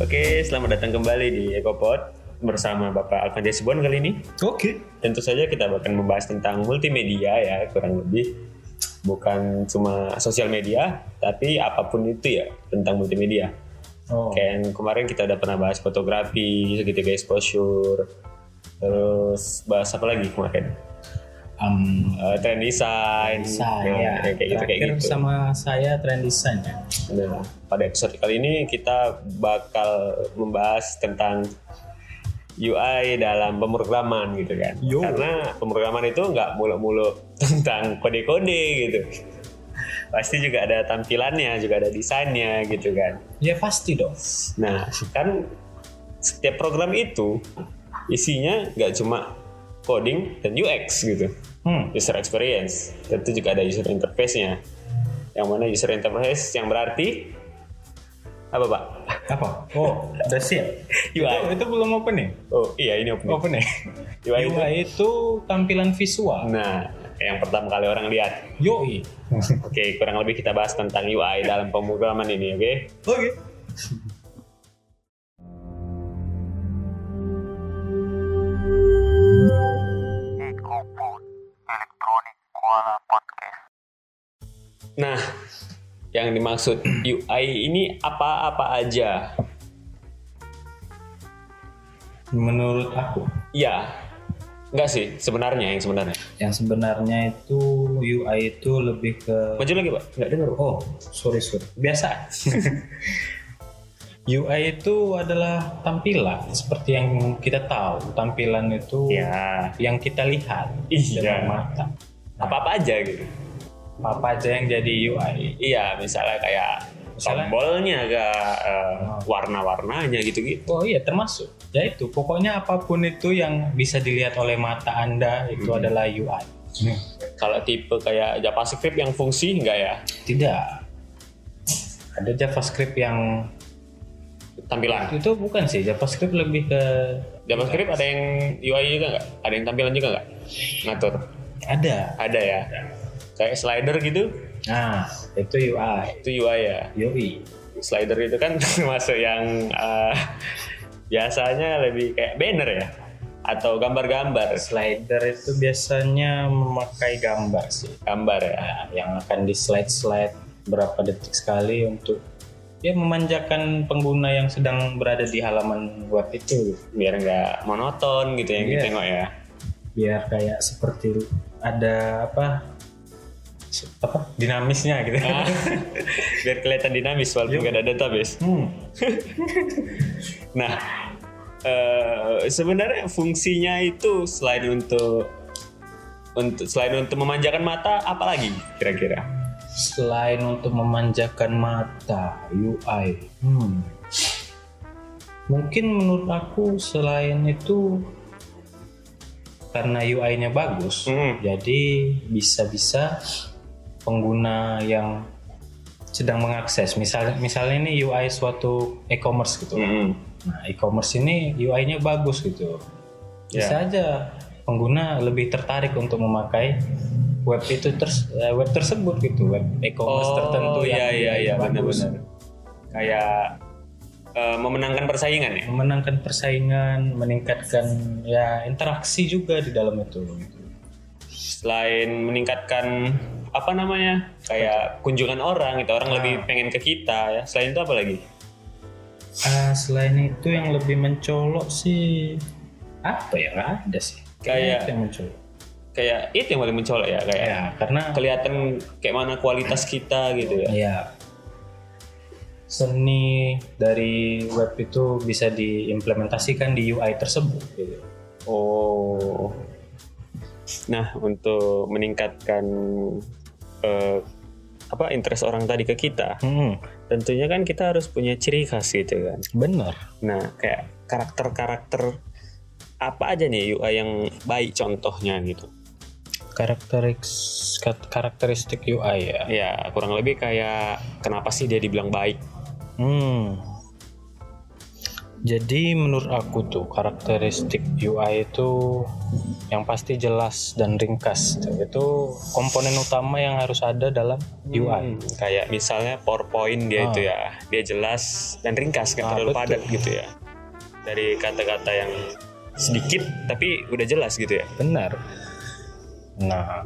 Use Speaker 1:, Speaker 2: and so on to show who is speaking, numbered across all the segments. Speaker 1: Oke, selamat datang kembali di EkoPod bersama Bapak Alvan Desibuan kali ini.
Speaker 2: Oke.
Speaker 1: Tentu saja kita akan membahas tentang multimedia ya, kurang lebih bukan cuma sosial media, tapi apapun itu ya tentang multimedia.
Speaker 2: Oh.
Speaker 1: Kayak yang kemarin kita udah pernah bahas fotografi, segitiga exposure, terus bahas apa lagi kemarin?
Speaker 2: Um,
Speaker 1: Eh, tren desain,
Speaker 2: saya
Speaker 1: Nah, kayak gitu kayak
Speaker 2: ya. terakhir
Speaker 1: gitu.
Speaker 2: sama saya trend design ya.
Speaker 1: Nah, pada episode kali ini kita bakal membahas tentang UI dalam pemrograman gitu kan.
Speaker 2: Yo.
Speaker 1: Karena pemrograman itu nggak mulu-mulu tentang kode-kode gitu. Pasti juga ada tampilannya, juga ada desainnya gitu kan.
Speaker 2: Ya pasti dong.
Speaker 1: Nah, kan setiap program itu isinya nggak cuma coding dan UX gitu
Speaker 2: Hmm.
Speaker 1: user experience tentu juga ada user interface-nya yang mana user interface yang berarti apa pak
Speaker 2: Apa? Oh, udah siap.
Speaker 1: UI.
Speaker 2: Itu, itu belum open ya?
Speaker 1: oh iya ini open
Speaker 2: Open ya?
Speaker 1: UI itu
Speaker 2: UI itu tampilan visual.
Speaker 1: nah yang pertama kali orang lihat
Speaker 2: Yoi.
Speaker 1: oke kurang lebih kita bahas tentang UI dalam pemrograman ini oke
Speaker 2: Oke.
Speaker 1: nah yang dimaksud UI ini apa-apa aja
Speaker 2: Menurut aku,
Speaker 1: ya enggak sih sebenarnya yang sebenarnya
Speaker 2: yang sebenarnya itu UI itu lebih ke
Speaker 1: maju lagi pak nggak dengar Pak.
Speaker 2: Oh, sorry sorry. Biasa. UI itu adalah tampilan seperti yang kita tahu. Tampilan itu
Speaker 1: ya
Speaker 2: yang kita lihat
Speaker 1: Iya.
Speaker 2: dengan mata.
Speaker 1: apa-apa aja gitu
Speaker 2: Apa aja yang jadi UI?
Speaker 1: Iya, misalnya kayak
Speaker 2: Misalnya?
Speaker 1: tombolnya agak eh, warna-warnanya gitu-gitu.
Speaker 2: Oh iya termasuk. Ya itu pokoknya apapun itu yang bisa dilihat oleh mata Anda itu adalah UI.
Speaker 1: Kalau tipe kayak JavaScript yang fungsi enggak ya?
Speaker 2: Tidak. Ada JavaScript yang
Speaker 1: Tampilan.
Speaker 2: itu bukan sih JavaScript lebih ke
Speaker 1: JavaScript ada yang UI juga enggak? Ada yang tampilan juga enggak? Ngatur.
Speaker 2: ada.
Speaker 1: Ada ya. Kayak slider gitu,
Speaker 2: Nah, itu UI.
Speaker 1: itu UI ya.
Speaker 2: UI.
Speaker 1: Slider itu kan termasuk yang eh, biasanya lebih kayak banner ya atau gambar-gambar,
Speaker 2: Slider itu biasanya memakai gambar sih.
Speaker 1: gambar ya.
Speaker 2: Nah, yang akan di slide-slide berapa detik sekali untuk ya memanjakan pengguna yang sedang berada di halaman web itu
Speaker 1: Biar nggak monoton gitu yang
Speaker 2: Iya.
Speaker 1: kita tengok ya.
Speaker 2: biar kayak seperti ada apa se- apa dinamisnya gitu.
Speaker 1: Ah, biar kelihatan dinamis walaupun gak ada database.
Speaker 2: Hmm.
Speaker 1: Nah, eh, sebenarnya fungsinya itu selain untuk untuk selain untuk memanjakan mata, apa lagi kira-kira?
Speaker 2: Selain untuk memanjakan mata UI. Hmm. Mungkin menurut aku selain itu karena UI-nya bagus,
Speaker 1: Hmm.
Speaker 2: jadi bisa-bisa pengguna yang sedang mengakses, misalnya misalnya ini UI suatu e-commerce gitu.
Speaker 1: Mm-mm.
Speaker 2: Nah, e-commerce ini UI-nya bagus gitu.
Speaker 1: Ya.
Speaker 2: Bisa aja pengguna lebih tertarik untuk memakai web itu ters- eh, web tersebut gitu, web e-commerce tertentu
Speaker 1: Oh, iya
Speaker 2: yang
Speaker 1: iya iya
Speaker 2: bagus.
Speaker 1: benar-benar. Kayak eh, memenangkan persaingan ya.
Speaker 2: Memenangkan persaingan, meningkatkan ya interaksi juga di dalam itu. gitu.
Speaker 1: Selain meningkatkan apa namanya kayak kunjungan orang gitu orang lebih pengen ke kita ya selain itu apa lagi
Speaker 2: Ah, selain itu yang lebih mencolok sih apa ya nggak ada sih. Kayaknya
Speaker 1: Kayak-
Speaker 2: itu yang mencolok.
Speaker 1: kayak itu yang paling mencolok ya kayak
Speaker 2: Ya karena
Speaker 1: kelihatan kayak mana kualitas kita gitu ya.
Speaker 2: ya seni dari web itu bisa diimplementasikan di UI tersebut. Gitu.
Speaker 1: Oh. Nah, untuk meningkatkan eh, apa interest orang tadi ke kita,
Speaker 2: Hmm,
Speaker 1: tentunya kan kita harus punya ciri khas gitu kan.
Speaker 2: benar.
Speaker 1: Nah, kayak karakter-karakter apa aja nih UI yang baik contohnya gitu.
Speaker 2: Karakteris- kat- karakteristik UI ya.
Speaker 1: Ya, kurang lebih kayak kenapa sih dia dibilang baik?
Speaker 2: Hmm. Jadi menurut aku tuh karakteristik UI itu yang pasti jelas dan ringkas tuh. itu komponen utama yang harus ada dalam
Speaker 1: Hmm,
Speaker 2: UI.
Speaker 1: kayak misalnya PowerPoint dia
Speaker 2: Ah.
Speaker 1: itu ya, dia jelas dan ringkas, nggak
Speaker 2: Ah,
Speaker 1: terlalu
Speaker 2: betul.
Speaker 1: padat gitu ya. Dari kata-kata yang sedikit tapi udah jelas gitu ya.
Speaker 2: Benar. Nah,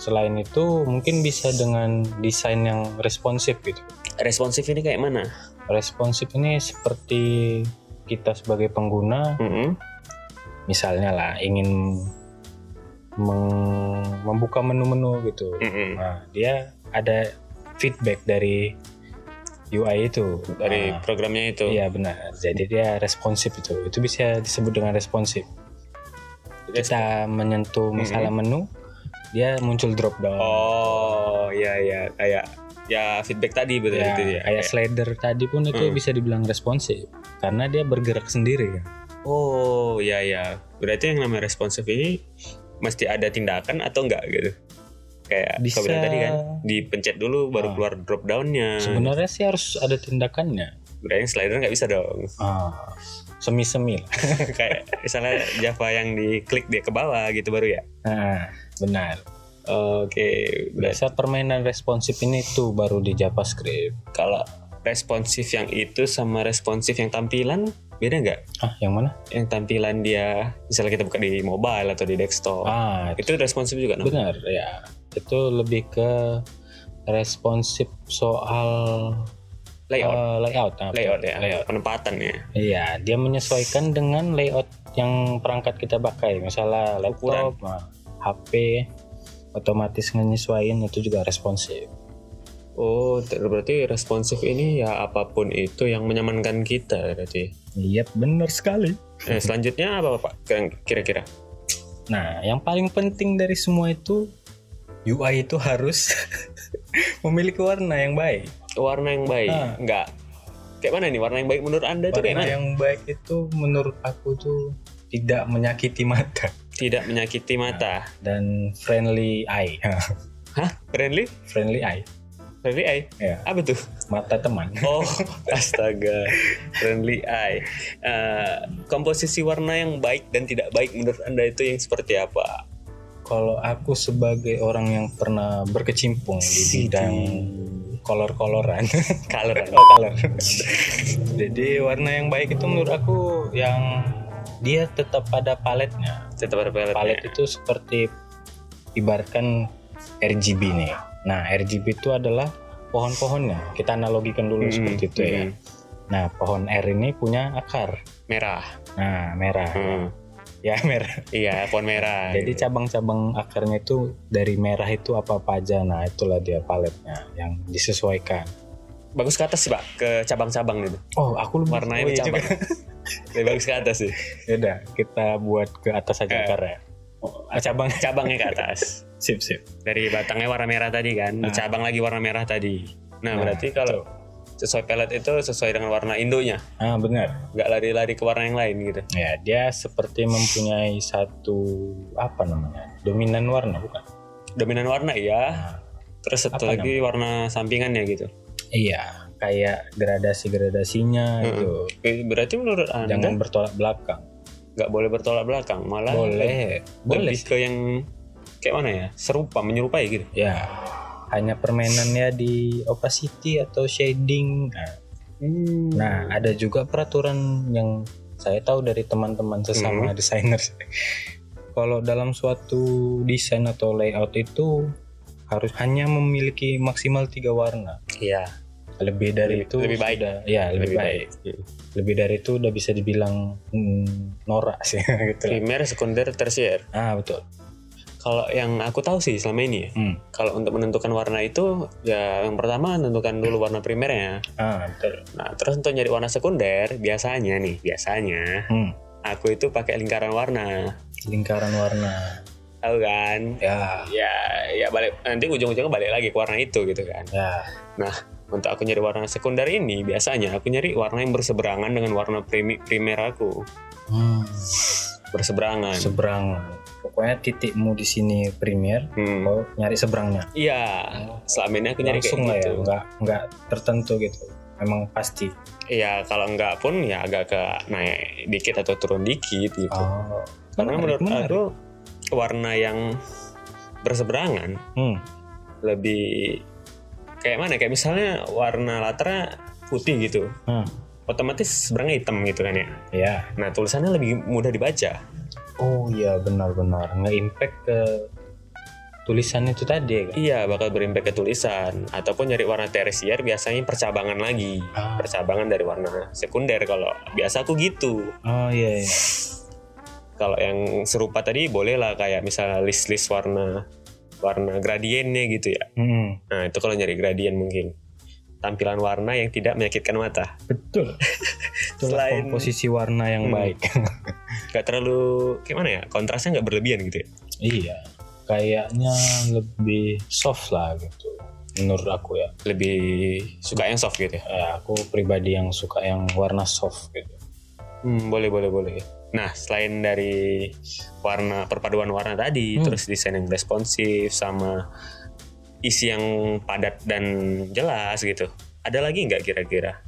Speaker 2: selain itu mungkin bisa dengan desain yang responsif gitu.
Speaker 1: Responsif ini kayak mana?
Speaker 2: Responsif ini seperti kita sebagai pengguna
Speaker 1: Mm-mm.
Speaker 2: misalnya lah ingin meng- membuka menu-menu gitu.
Speaker 1: Mm-mm.
Speaker 2: Nah, dia ada feedback dari UI itu.
Speaker 1: Dari
Speaker 2: Nah,
Speaker 1: programnya itu.
Speaker 2: Iya benar. Jadi dia responsif itu. Itu bisa disebut dengan responsif. Kita menyentuh masalah menu, dia muncul drop down.
Speaker 1: Oh, iya iya kayak ya feedback tadi betul
Speaker 2: ya,
Speaker 1: itu ya.
Speaker 2: kayak slider tadi pun itu bisa dibilang responsif karena dia bergerak sendiri kan.
Speaker 1: Oh, iya iya. Berarti yang namanya responsif ini mesti ada tindakan atau enggak gitu. Kayak
Speaker 2: Bisa. Ah.
Speaker 1: kau bilang tadi kan, dipencet dulu baru keluar drop downnya.
Speaker 2: Sebenarnya sih harus ada tindakannya.
Speaker 1: Berarti yang slider nggak bisa dong.
Speaker 2: Ah, semi-semi lah.
Speaker 1: kayak misalnya Java yang diklik dia ke bawah gitu baru ya.
Speaker 2: Nah, benar.
Speaker 1: Oke, berarti
Speaker 2: Biasa permainan responsif ini tuh baru di JavaScript.
Speaker 1: kalau responsif yang itu sama responsif yang tampilan beda nggak?
Speaker 2: Ah, yang mana?
Speaker 1: Yang tampilan dia misalnya kita buka di mobile atau di desktop.
Speaker 2: Ah,
Speaker 1: Itu
Speaker 2: itu
Speaker 1: responsif juga namanya.
Speaker 2: benar ya. Itu lebih ke responsif soal
Speaker 1: Layout,
Speaker 2: eh, layout. Ah,
Speaker 1: layout ya.
Speaker 2: Layout.
Speaker 1: Penempatan ya.
Speaker 2: Iya, dia menyesuaikan dengan layout yang perangkat kita pakai. Misalnya laptop, ah, HP, otomatis menyesuaikan itu juga responsif.
Speaker 1: Oh, ter- berarti responsif ini ya apapun itu yang menyamankan kita berarti.
Speaker 2: Iya, benar sekali.
Speaker 1: Eh, selanjutnya apa Pak? Kira- Kira-kira.
Speaker 2: Nah, yang paling penting dari semua itu UI itu harus memiliki warna yang baik.
Speaker 1: Warna yang baik.
Speaker 2: Ah.
Speaker 1: Enggak. Kayak mana nih warna yang baik menurut Anda itu kayak
Speaker 2: Warna
Speaker 1: mana?
Speaker 2: yang baik itu menurut aku tuh tidak menyakiti mata
Speaker 1: Tidak menyakiti mata.
Speaker 2: dan friendly eye.
Speaker 1: Hah? Friendly?
Speaker 2: friendly eye.
Speaker 1: Friendly eye.
Speaker 2: Ya,
Speaker 1: Apa tuh?
Speaker 2: mata teman.
Speaker 1: Oh, astaga. Friendly eye. Eh, komposisi warna yang baik dan tidak baik menurut Anda itu yang seperti apa?
Speaker 2: Kalau aku sebagai orang yang pernah berkecimpung di bidang kolor-koloran,
Speaker 1: Color.
Speaker 2: oh, color. Jadi warna yang baik itu menurut aku yang dia tetap pada paletnya.
Speaker 1: Tetap ya. ada paletnya.
Speaker 2: Palet itu seperti ibaratkan RGB nih. Nah, RGB itu adalah pohon-pohonnya. Kita analogikan dulu
Speaker 1: Mm-mm,
Speaker 2: seperti itu ya.
Speaker 1: mm-mm.
Speaker 2: Nah, pohon R ini punya akar.
Speaker 1: Merah.
Speaker 2: Nah, merah.
Speaker 1: Hmm.
Speaker 2: Ya, merah.
Speaker 1: Iya, pohon merah.
Speaker 2: Jadi cabang-cabang akarnya itu dari merah itu apa-apa aja. Nah, itulah dia paletnya yang disesuaikan.
Speaker 1: bagus ke atas sih pak ke cabang-cabang gitu
Speaker 2: Oh, aku lupa.
Speaker 1: warnanya bercabang lebih bagus ke atas sih
Speaker 2: Ya udah, kita buat ke atas aja
Speaker 1: Eh.
Speaker 2: akarnya. Ah, cabang
Speaker 1: cabangnya ke atas
Speaker 2: sip sip.
Speaker 1: dari batangnya warna merah tadi kan bercabang lagi warna merah tadi nah,
Speaker 2: Ah. Nah,
Speaker 1: berarti kalau sesuai pelet itu sesuai dengan warna indonya
Speaker 2: Ah, benar.
Speaker 1: nggak lari-lari ke warna yang lain gitu
Speaker 2: Ya, dia seperti mempunyai satu apa namanya? Dominan warna bukan?
Speaker 1: dominan warna iya
Speaker 2: Nah,
Speaker 1: terus satu
Speaker 2: Apa
Speaker 1: lagi warna sampingannya gitu
Speaker 2: iya, kayak gradasi-gradasinya itu.
Speaker 1: Eh, berarti menurut
Speaker 2: Jangan
Speaker 1: anda
Speaker 2: bertolak belakang.
Speaker 1: nggak boleh bertolak belakang
Speaker 2: Ah,
Speaker 1: malah
Speaker 2: Boleh.
Speaker 1: lebih
Speaker 2: Boleh.
Speaker 1: ke yang kayak mana ya serupa menyerupai gitu
Speaker 2: Ya. Hanya permainannya di opacity atau shading. Nah,
Speaker 1: Hmm.
Speaker 2: Nah, ada juga peraturan yang saya tahu dari teman-teman sesama desainer. Kalau dalam suatu desain atau layout itu harus hanya memiliki maksimal tiga warna.
Speaker 1: iya
Speaker 2: Lebih dari
Speaker 1: Lebih-
Speaker 2: itu
Speaker 1: lebih baik.
Speaker 2: sudah- ya lebih,
Speaker 1: lebih
Speaker 2: baik.
Speaker 1: baik,
Speaker 2: Lebih dari itu udah bisa dibilang hmm, norak sih gitu.
Speaker 1: primer sekunder tersier
Speaker 2: Ah betul.
Speaker 1: Kalau yang aku tahu sih selama ini ya,
Speaker 2: Hmm.
Speaker 1: kalau untuk menentukan warna itu ya yang pertama tentukan dulu warna primernya.
Speaker 2: Ah betul.
Speaker 1: Nah, terus untuk nyari warna sekunder biasanya nih, biasanya
Speaker 2: Hmm.
Speaker 1: aku itu pakai lingkaran warna.
Speaker 2: Lingkaran warna.
Speaker 1: Tahu kan?
Speaker 2: Ya.
Speaker 1: Ya, ya balik nanti ujung-ujungnya balik lagi ke warna itu gitu kan.
Speaker 2: Ya.
Speaker 1: Untuk aku nyari warna sekunder ini biasanya aku nyari warna yang berseberangan dengan warna primi- primer aku.
Speaker 2: Hmm.
Speaker 1: Berseberangan.
Speaker 2: Seberang. Pokoknya titikmu di sini premier.
Speaker 1: Hmm.
Speaker 2: Mau nyari seberangnya.
Speaker 1: Iya, selama ini aku nyari
Speaker 2: langsung lah
Speaker 1: kayak gitu.
Speaker 2: ya nggak nggak tertentu gitu memang pasti
Speaker 1: ya kalau enggak pun ya agak ke naik dikit atau turun dikit gitu
Speaker 2: oh
Speaker 1: karena menurut aku warna yang berseberangan
Speaker 2: hmm.
Speaker 1: lebih kayak mana ya? kayak misalnya warna latarnya putih gitu
Speaker 2: hmm.
Speaker 1: otomatis seberangnya hitam gitu kan ya
Speaker 2: ya
Speaker 1: nah tulisannya lebih mudah dibaca
Speaker 2: oh iya benar-benar nggak impact ke tulisan itu tadi ya kan
Speaker 1: iya bakal berimpact ke tulisan ataupun nyari warna tersier biasanya percabangan lagi
Speaker 2: Ah.
Speaker 1: percabangan dari warna sekunder kalau biasa aku gitu
Speaker 2: oh iya, iya.
Speaker 1: kalau yang serupa tadi boleh lah kayak misalnya list-list warna warna gradiennya gitu ya
Speaker 2: Hmm.
Speaker 1: nah itu kalau nyari gradien mungkin tampilan warna yang tidak menyakitkan mata
Speaker 2: betul itulah
Speaker 1: Selain-
Speaker 2: komposisi warna yang
Speaker 1: Hmm.
Speaker 2: baik
Speaker 1: nggak terlalu gimana ya kontrasnya nggak berlebihan gitu ya
Speaker 2: iya kayaknya lebih soft lah gitu menurut aku ya
Speaker 1: lebih suka yang soft gitu ya
Speaker 2: Eh, aku pribadi yang suka yang warna soft gitu
Speaker 1: Hmm, boleh boleh boleh nah selain dari warna perpaduan warna tadi
Speaker 2: Hmm.
Speaker 1: terus desain yang responsif sama isi yang padat dan jelas gitu ada lagi nggak kira-kira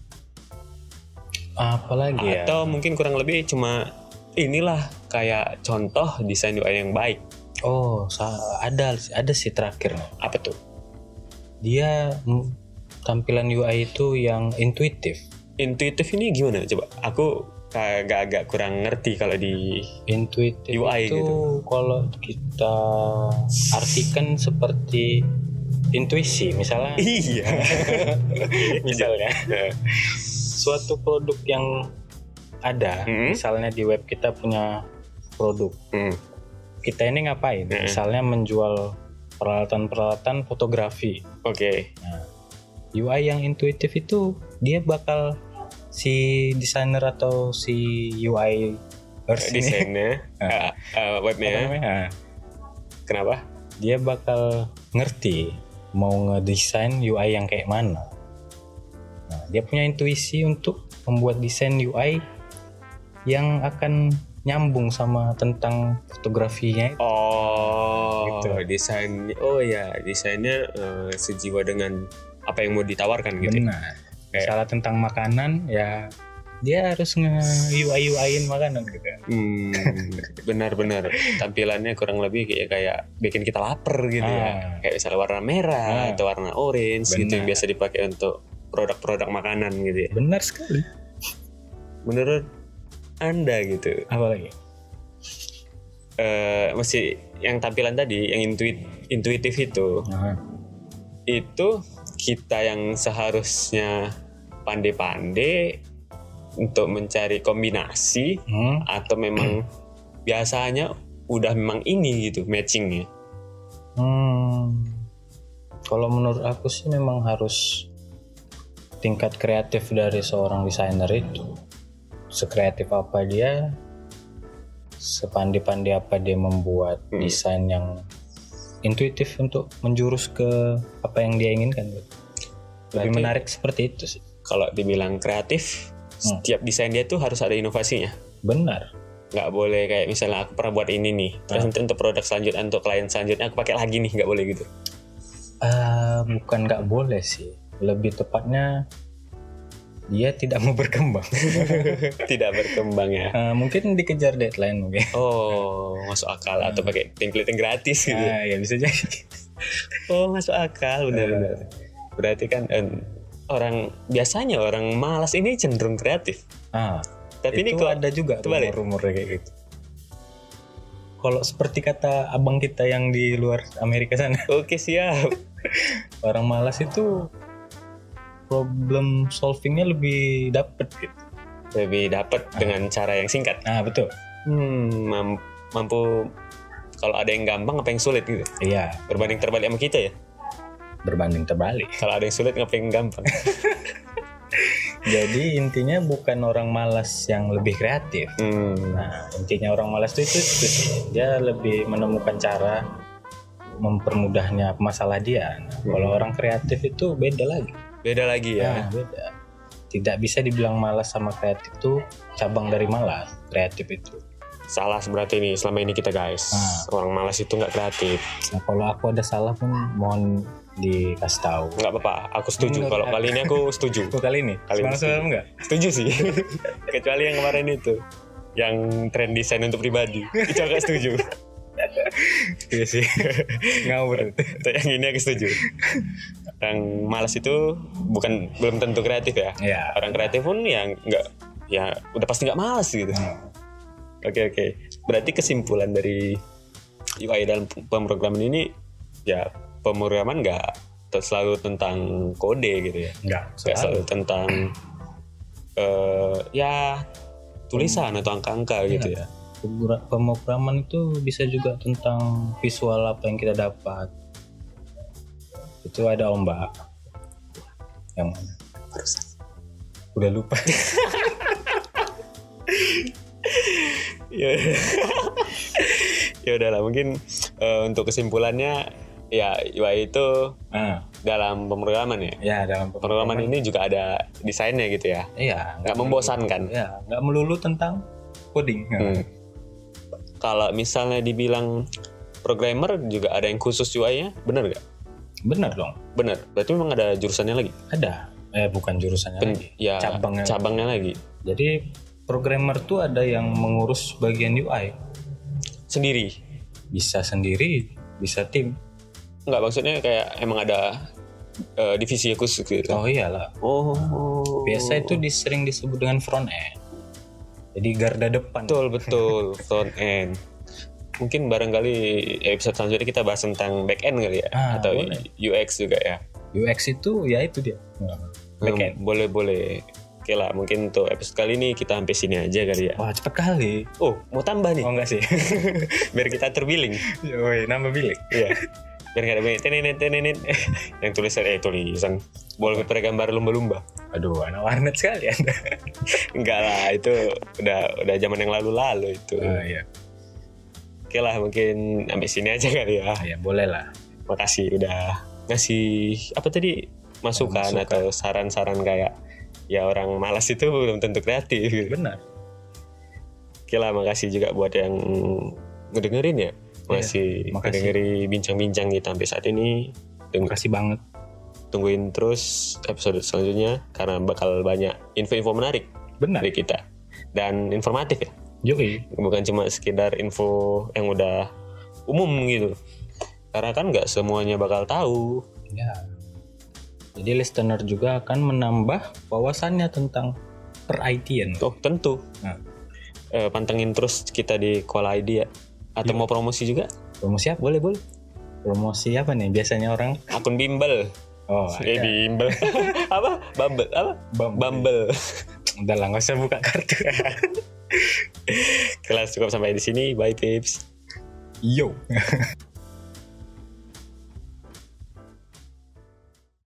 Speaker 2: apalagi ya
Speaker 1: atau mungkin kurang lebih cuma inilah kayak contoh desain UI yang baik
Speaker 2: oh sa- ada ada sih terakhir nih.
Speaker 1: apa tuh
Speaker 2: dia mm, tampilan UI itu yang intuitif
Speaker 1: intuitif ini gimana coba aku agak-agak kurang ngerti kalau di
Speaker 2: intuitif
Speaker 1: UI
Speaker 2: itu
Speaker 1: gitu.
Speaker 2: kalau kita artikan seperti intuisi misalnya
Speaker 1: iya
Speaker 2: misalnya suatu produk yang ada
Speaker 1: Mhm.
Speaker 2: misalnya di web kita punya produk
Speaker 1: Hmm,
Speaker 2: kita ini ngapain
Speaker 1: Mhm.
Speaker 2: misalnya menjual peralatan-peralatan fotografi
Speaker 1: oke
Speaker 2: UI yang intuitif itu dia bakal si desainer atau si UI ers ini, Ah.
Speaker 1: desainnya eh, eh,
Speaker 2: apa
Speaker 1: webnya
Speaker 2: namanya? Nah,
Speaker 1: kenapa
Speaker 2: dia bakal ngerti mau ngedesain UI yang kayak mana. Nah, dia punya intuisi untuk membuat desain UI yang akan nyambung sama tentang fotografinya.
Speaker 1: Oh,
Speaker 2: Gitu.
Speaker 1: desain. Oh ya, desainnya eh, sejiwa dengan apa yang mau ditawarkan gitu. ya.
Speaker 2: Benar. Salah tentang makanan ya dia harus nge UI UIin makanan gitu.
Speaker 1: Hmm, benar-benar tampilannya kurang lebih kayak kayak bikin kita lapar gitu ya.
Speaker 2: Ah.
Speaker 1: Kayak misalnya warna merah
Speaker 2: Ah.
Speaker 1: atau warna orange gitu
Speaker 2: Benar.
Speaker 1: yang biasa dipakai untuk produk-produk makanan gitu ya.
Speaker 2: Benar sekali.
Speaker 1: Menurut Anda gitu,
Speaker 2: Apalagi?
Speaker 1: eh masih yang tampilan tadi yang intuit intuitif itu
Speaker 2: Nah,
Speaker 1: itu kita yang seharusnya pandai-pandai untuk mencari kombinasi
Speaker 2: hmm,
Speaker 1: atau memang biasanya udah memang ini gitu matchingnya.
Speaker 2: hmm. Kalau menurut aku sih memang harus tingkat kreatif dari seorang desainer itu sekreatif apa dia, sepandi-pandi apa dia membuat
Speaker 1: Hmm.
Speaker 2: desain yang intuitif untuk menjurus ke apa yang dia inginkan. gitu. Lebih
Speaker 1: Berarti-
Speaker 2: menarik seperti itu sih.
Speaker 1: Kalau dibilang kreatif,
Speaker 2: Hmm.
Speaker 1: setiap desain dia tuh harus ada inovasinya.
Speaker 2: Benar.
Speaker 1: Nggak boleh kayak misalnya aku pernah buat ini nih, terus nanti untuk produk selanjutnya, untuk klien selanjutnya aku pakai lagi nih, nggak boleh gitu.
Speaker 2: Eh, bukan nggak boleh sih. Lebih tepatnya dia tidak mau berkembang.
Speaker 1: Tidak berkembang ya.
Speaker 2: Eh, mungkin dikejar deadline mungkin.
Speaker 1: Oh, masuk akal
Speaker 2: Hmm.
Speaker 1: atau pakai template yang gratis gitu.
Speaker 2: Ah, ya bisa jadi.
Speaker 1: Oh masuk akal
Speaker 2: Eh.
Speaker 1: benar-benar. Berarti kan em, orang biasanya orang malas ini cenderung kreatif.
Speaker 2: Ah,
Speaker 1: Tapi ini
Speaker 2: itu
Speaker 1: kok
Speaker 2: ada juga
Speaker 1: terbalik.
Speaker 2: rumor-rumor kayak gitu. Kalau seperti kata abang kita yang di luar Amerika sana,
Speaker 1: oke siap.
Speaker 2: orang malas itu problem solvingnya lebih dapet gitu.
Speaker 1: Lebih dapat
Speaker 2: Eh.
Speaker 1: dengan cara yang singkat.
Speaker 2: Nah betul.
Speaker 1: Hmm, mam- mampu kalau ada yang gampang apa yang sulit gitu.
Speaker 2: Iya
Speaker 1: Berbanding terbalik sama kita ya.
Speaker 2: berbanding terbalik.
Speaker 1: Kalau ada yang sulit ngapa yang gampang.
Speaker 2: Jadi intinya bukan orang malas yang lebih kreatif.
Speaker 1: Hmm.
Speaker 2: Nah intinya orang malas itu itu, itu sih. dia lebih menemukan cara mempermudahnya masalah dia. Nah, Kalau orang kreatif itu beda lagi.
Speaker 1: Beda lagi ya.
Speaker 2: Ya, beda. Tidak bisa dibilang malas sama kreatif itu cabang dari malas, kreatif itu.
Speaker 1: Salah berarti ini
Speaker 2: Eh.
Speaker 1: selama ini kita guys. Orang malas itu nggak kreatif.
Speaker 2: Nah, kalau aku ada salah pun mohon dikasih tahu.
Speaker 1: nggak apa-apa aku setuju
Speaker 2: Nggak
Speaker 1: kalau
Speaker 2: apa-apa.
Speaker 1: kali ini aku setuju
Speaker 2: Oh, kali ini?
Speaker 1: Kali ini
Speaker 2: Semalam semalam enggak?
Speaker 1: setuju sih kecuali yang kemarin itu yang tren desain untuk pribadi itu agak setuju
Speaker 2: Iya sih. Ngawur.
Speaker 1: Untuk yang ini aku setuju yang malas itu bukan belum tentu kreatif ya
Speaker 2: Ya.
Speaker 1: orang kreatif pun yang nggak ya udah pasti nggak malas gitu oke oke berarti kesimpulan dari UI dalam pemrograman ini ya pemrograman nggak ter- selalu tentang kode gitu ya
Speaker 2: Enggak.
Speaker 1: nggak selalu tentang eh, ya tulisan atau angka-angka
Speaker 2: Iya.
Speaker 1: gitu ya
Speaker 2: Pemrogra- Pemrograman itu bisa juga tentang visual apa yang kita dapat. Itu ada ombak. Yang mana? Udah lupa. Iya.
Speaker 1: ya ya udahlah mungkin eh, untuk kesimpulannya ya UI itu
Speaker 2: Ah,
Speaker 1: dalam pemrograman ya
Speaker 2: ya dalam
Speaker 1: pemrograman ini juga ada desainnya gitu ya
Speaker 2: Iya,
Speaker 1: nggak membosankan
Speaker 2: Ya, nggak melulu tentang coding.
Speaker 1: Gitu.
Speaker 2: Ya.
Speaker 1: Hmm. kalau misalnya dibilang programmer juga ada yang khusus UI-nya bener nggak
Speaker 2: Bener dong.
Speaker 1: bener berarti memang ada jurusannya lagi
Speaker 2: Ada. Eh bukan jurusannya
Speaker 1: Pen-
Speaker 2: lagi.
Speaker 1: ya
Speaker 2: Cabangnya.
Speaker 1: cabangnya lagi
Speaker 2: Jadi programmer tuh ada yang mengurus bagian UI.
Speaker 1: sendiri
Speaker 2: Bisa sendiri, bisa tim.
Speaker 1: nggak maksudnya kayak emang ada eh, divisi khusus gitu
Speaker 2: Oh iyalah.
Speaker 1: oh, oh.
Speaker 2: Biasa itu disering disebut dengan front end. Jadi garda depan.
Speaker 1: Betul betul front end. Mungkin barangkali episode selanjutnya kita bahas tentang back end kali ya
Speaker 2: Ah,
Speaker 1: atau
Speaker 2: boleh.
Speaker 1: UX juga ya.
Speaker 2: UX itu ya itu dia. Back end.
Speaker 1: Hmm, boleh boleh. Oke lah, mungkin untuk episode kali ini kita sampai sini aja kali ya.
Speaker 2: Wah cepet kali.
Speaker 1: Oh, mau tambah nih
Speaker 2: Oh enggak sih.
Speaker 1: biar kita terbiling.
Speaker 2: Yoi, nambah bilik.
Speaker 1: Iya. Biar nggak ada banyak tenenet tenenet yang tulisan eh tulisan wallpaper gambar lumba-lumba.
Speaker 2: Aduh, anak warnet sekali Anda.
Speaker 1: Enggak lah, itu udah udah zaman yang lalu-lalu itu.
Speaker 2: Oh iya.
Speaker 1: Oke lah, mungkin sampai sini aja kali ya.
Speaker 2: Ah, ya boleh lah.
Speaker 1: makasih udah ngasih apa tadi masukan,
Speaker 2: Masukan.
Speaker 1: atau saran-saran kayak ya orang malas itu belum tentu kreatif gitu.
Speaker 2: Benar.
Speaker 1: Oke lah makasih juga buat yang ngedengerin ya. Makasih
Speaker 2: makasih.
Speaker 1: ngedengeri bincang-bincang kita sampai saat ini. Deng-
Speaker 2: Makasih banget.
Speaker 1: Tungguin terus episode selanjutnya karena bakal banyak info-info menarik
Speaker 2: Benar.
Speaker 1: dari kita dan informatif ya.
Speaker 2: Yoi.
Speaker 1: Bukan cuma sekedar info yang udah umum gitu. Karena kan nggak semuanya bakal tahu
Speaker 2: Ya. Jadi listener juga akan menambah wawasannya tentang per IT-an.
Speaker 1: Oh tentu.
Speaker 2: Nah.
Speaker 1: Eh, pantengin terus kita di Koala ID ya. Atau
Speaker 2: Iya.
Speaker 1: mau promosi juga?
Speaker 2: Promosi apa?
Speaker 1: Boleh boleh.
Speaker 2: Promosi apa nih? Biasanya orang
Speaker 1: Akun bimbel.
Speaker 2: Oh,
Speaker 1: Eh
Speaker 2: ada.
Speaker 1: bimbel. apa? Bumble apa?
Speaker 2: Bumble.
Speaker 1: Bumble.
Speaker 2: Udah lah, nggak usah buka kartu.
Speaker 1: Kelas cukup sampai di sini. Bye peeps.
Speaker 2: Yo.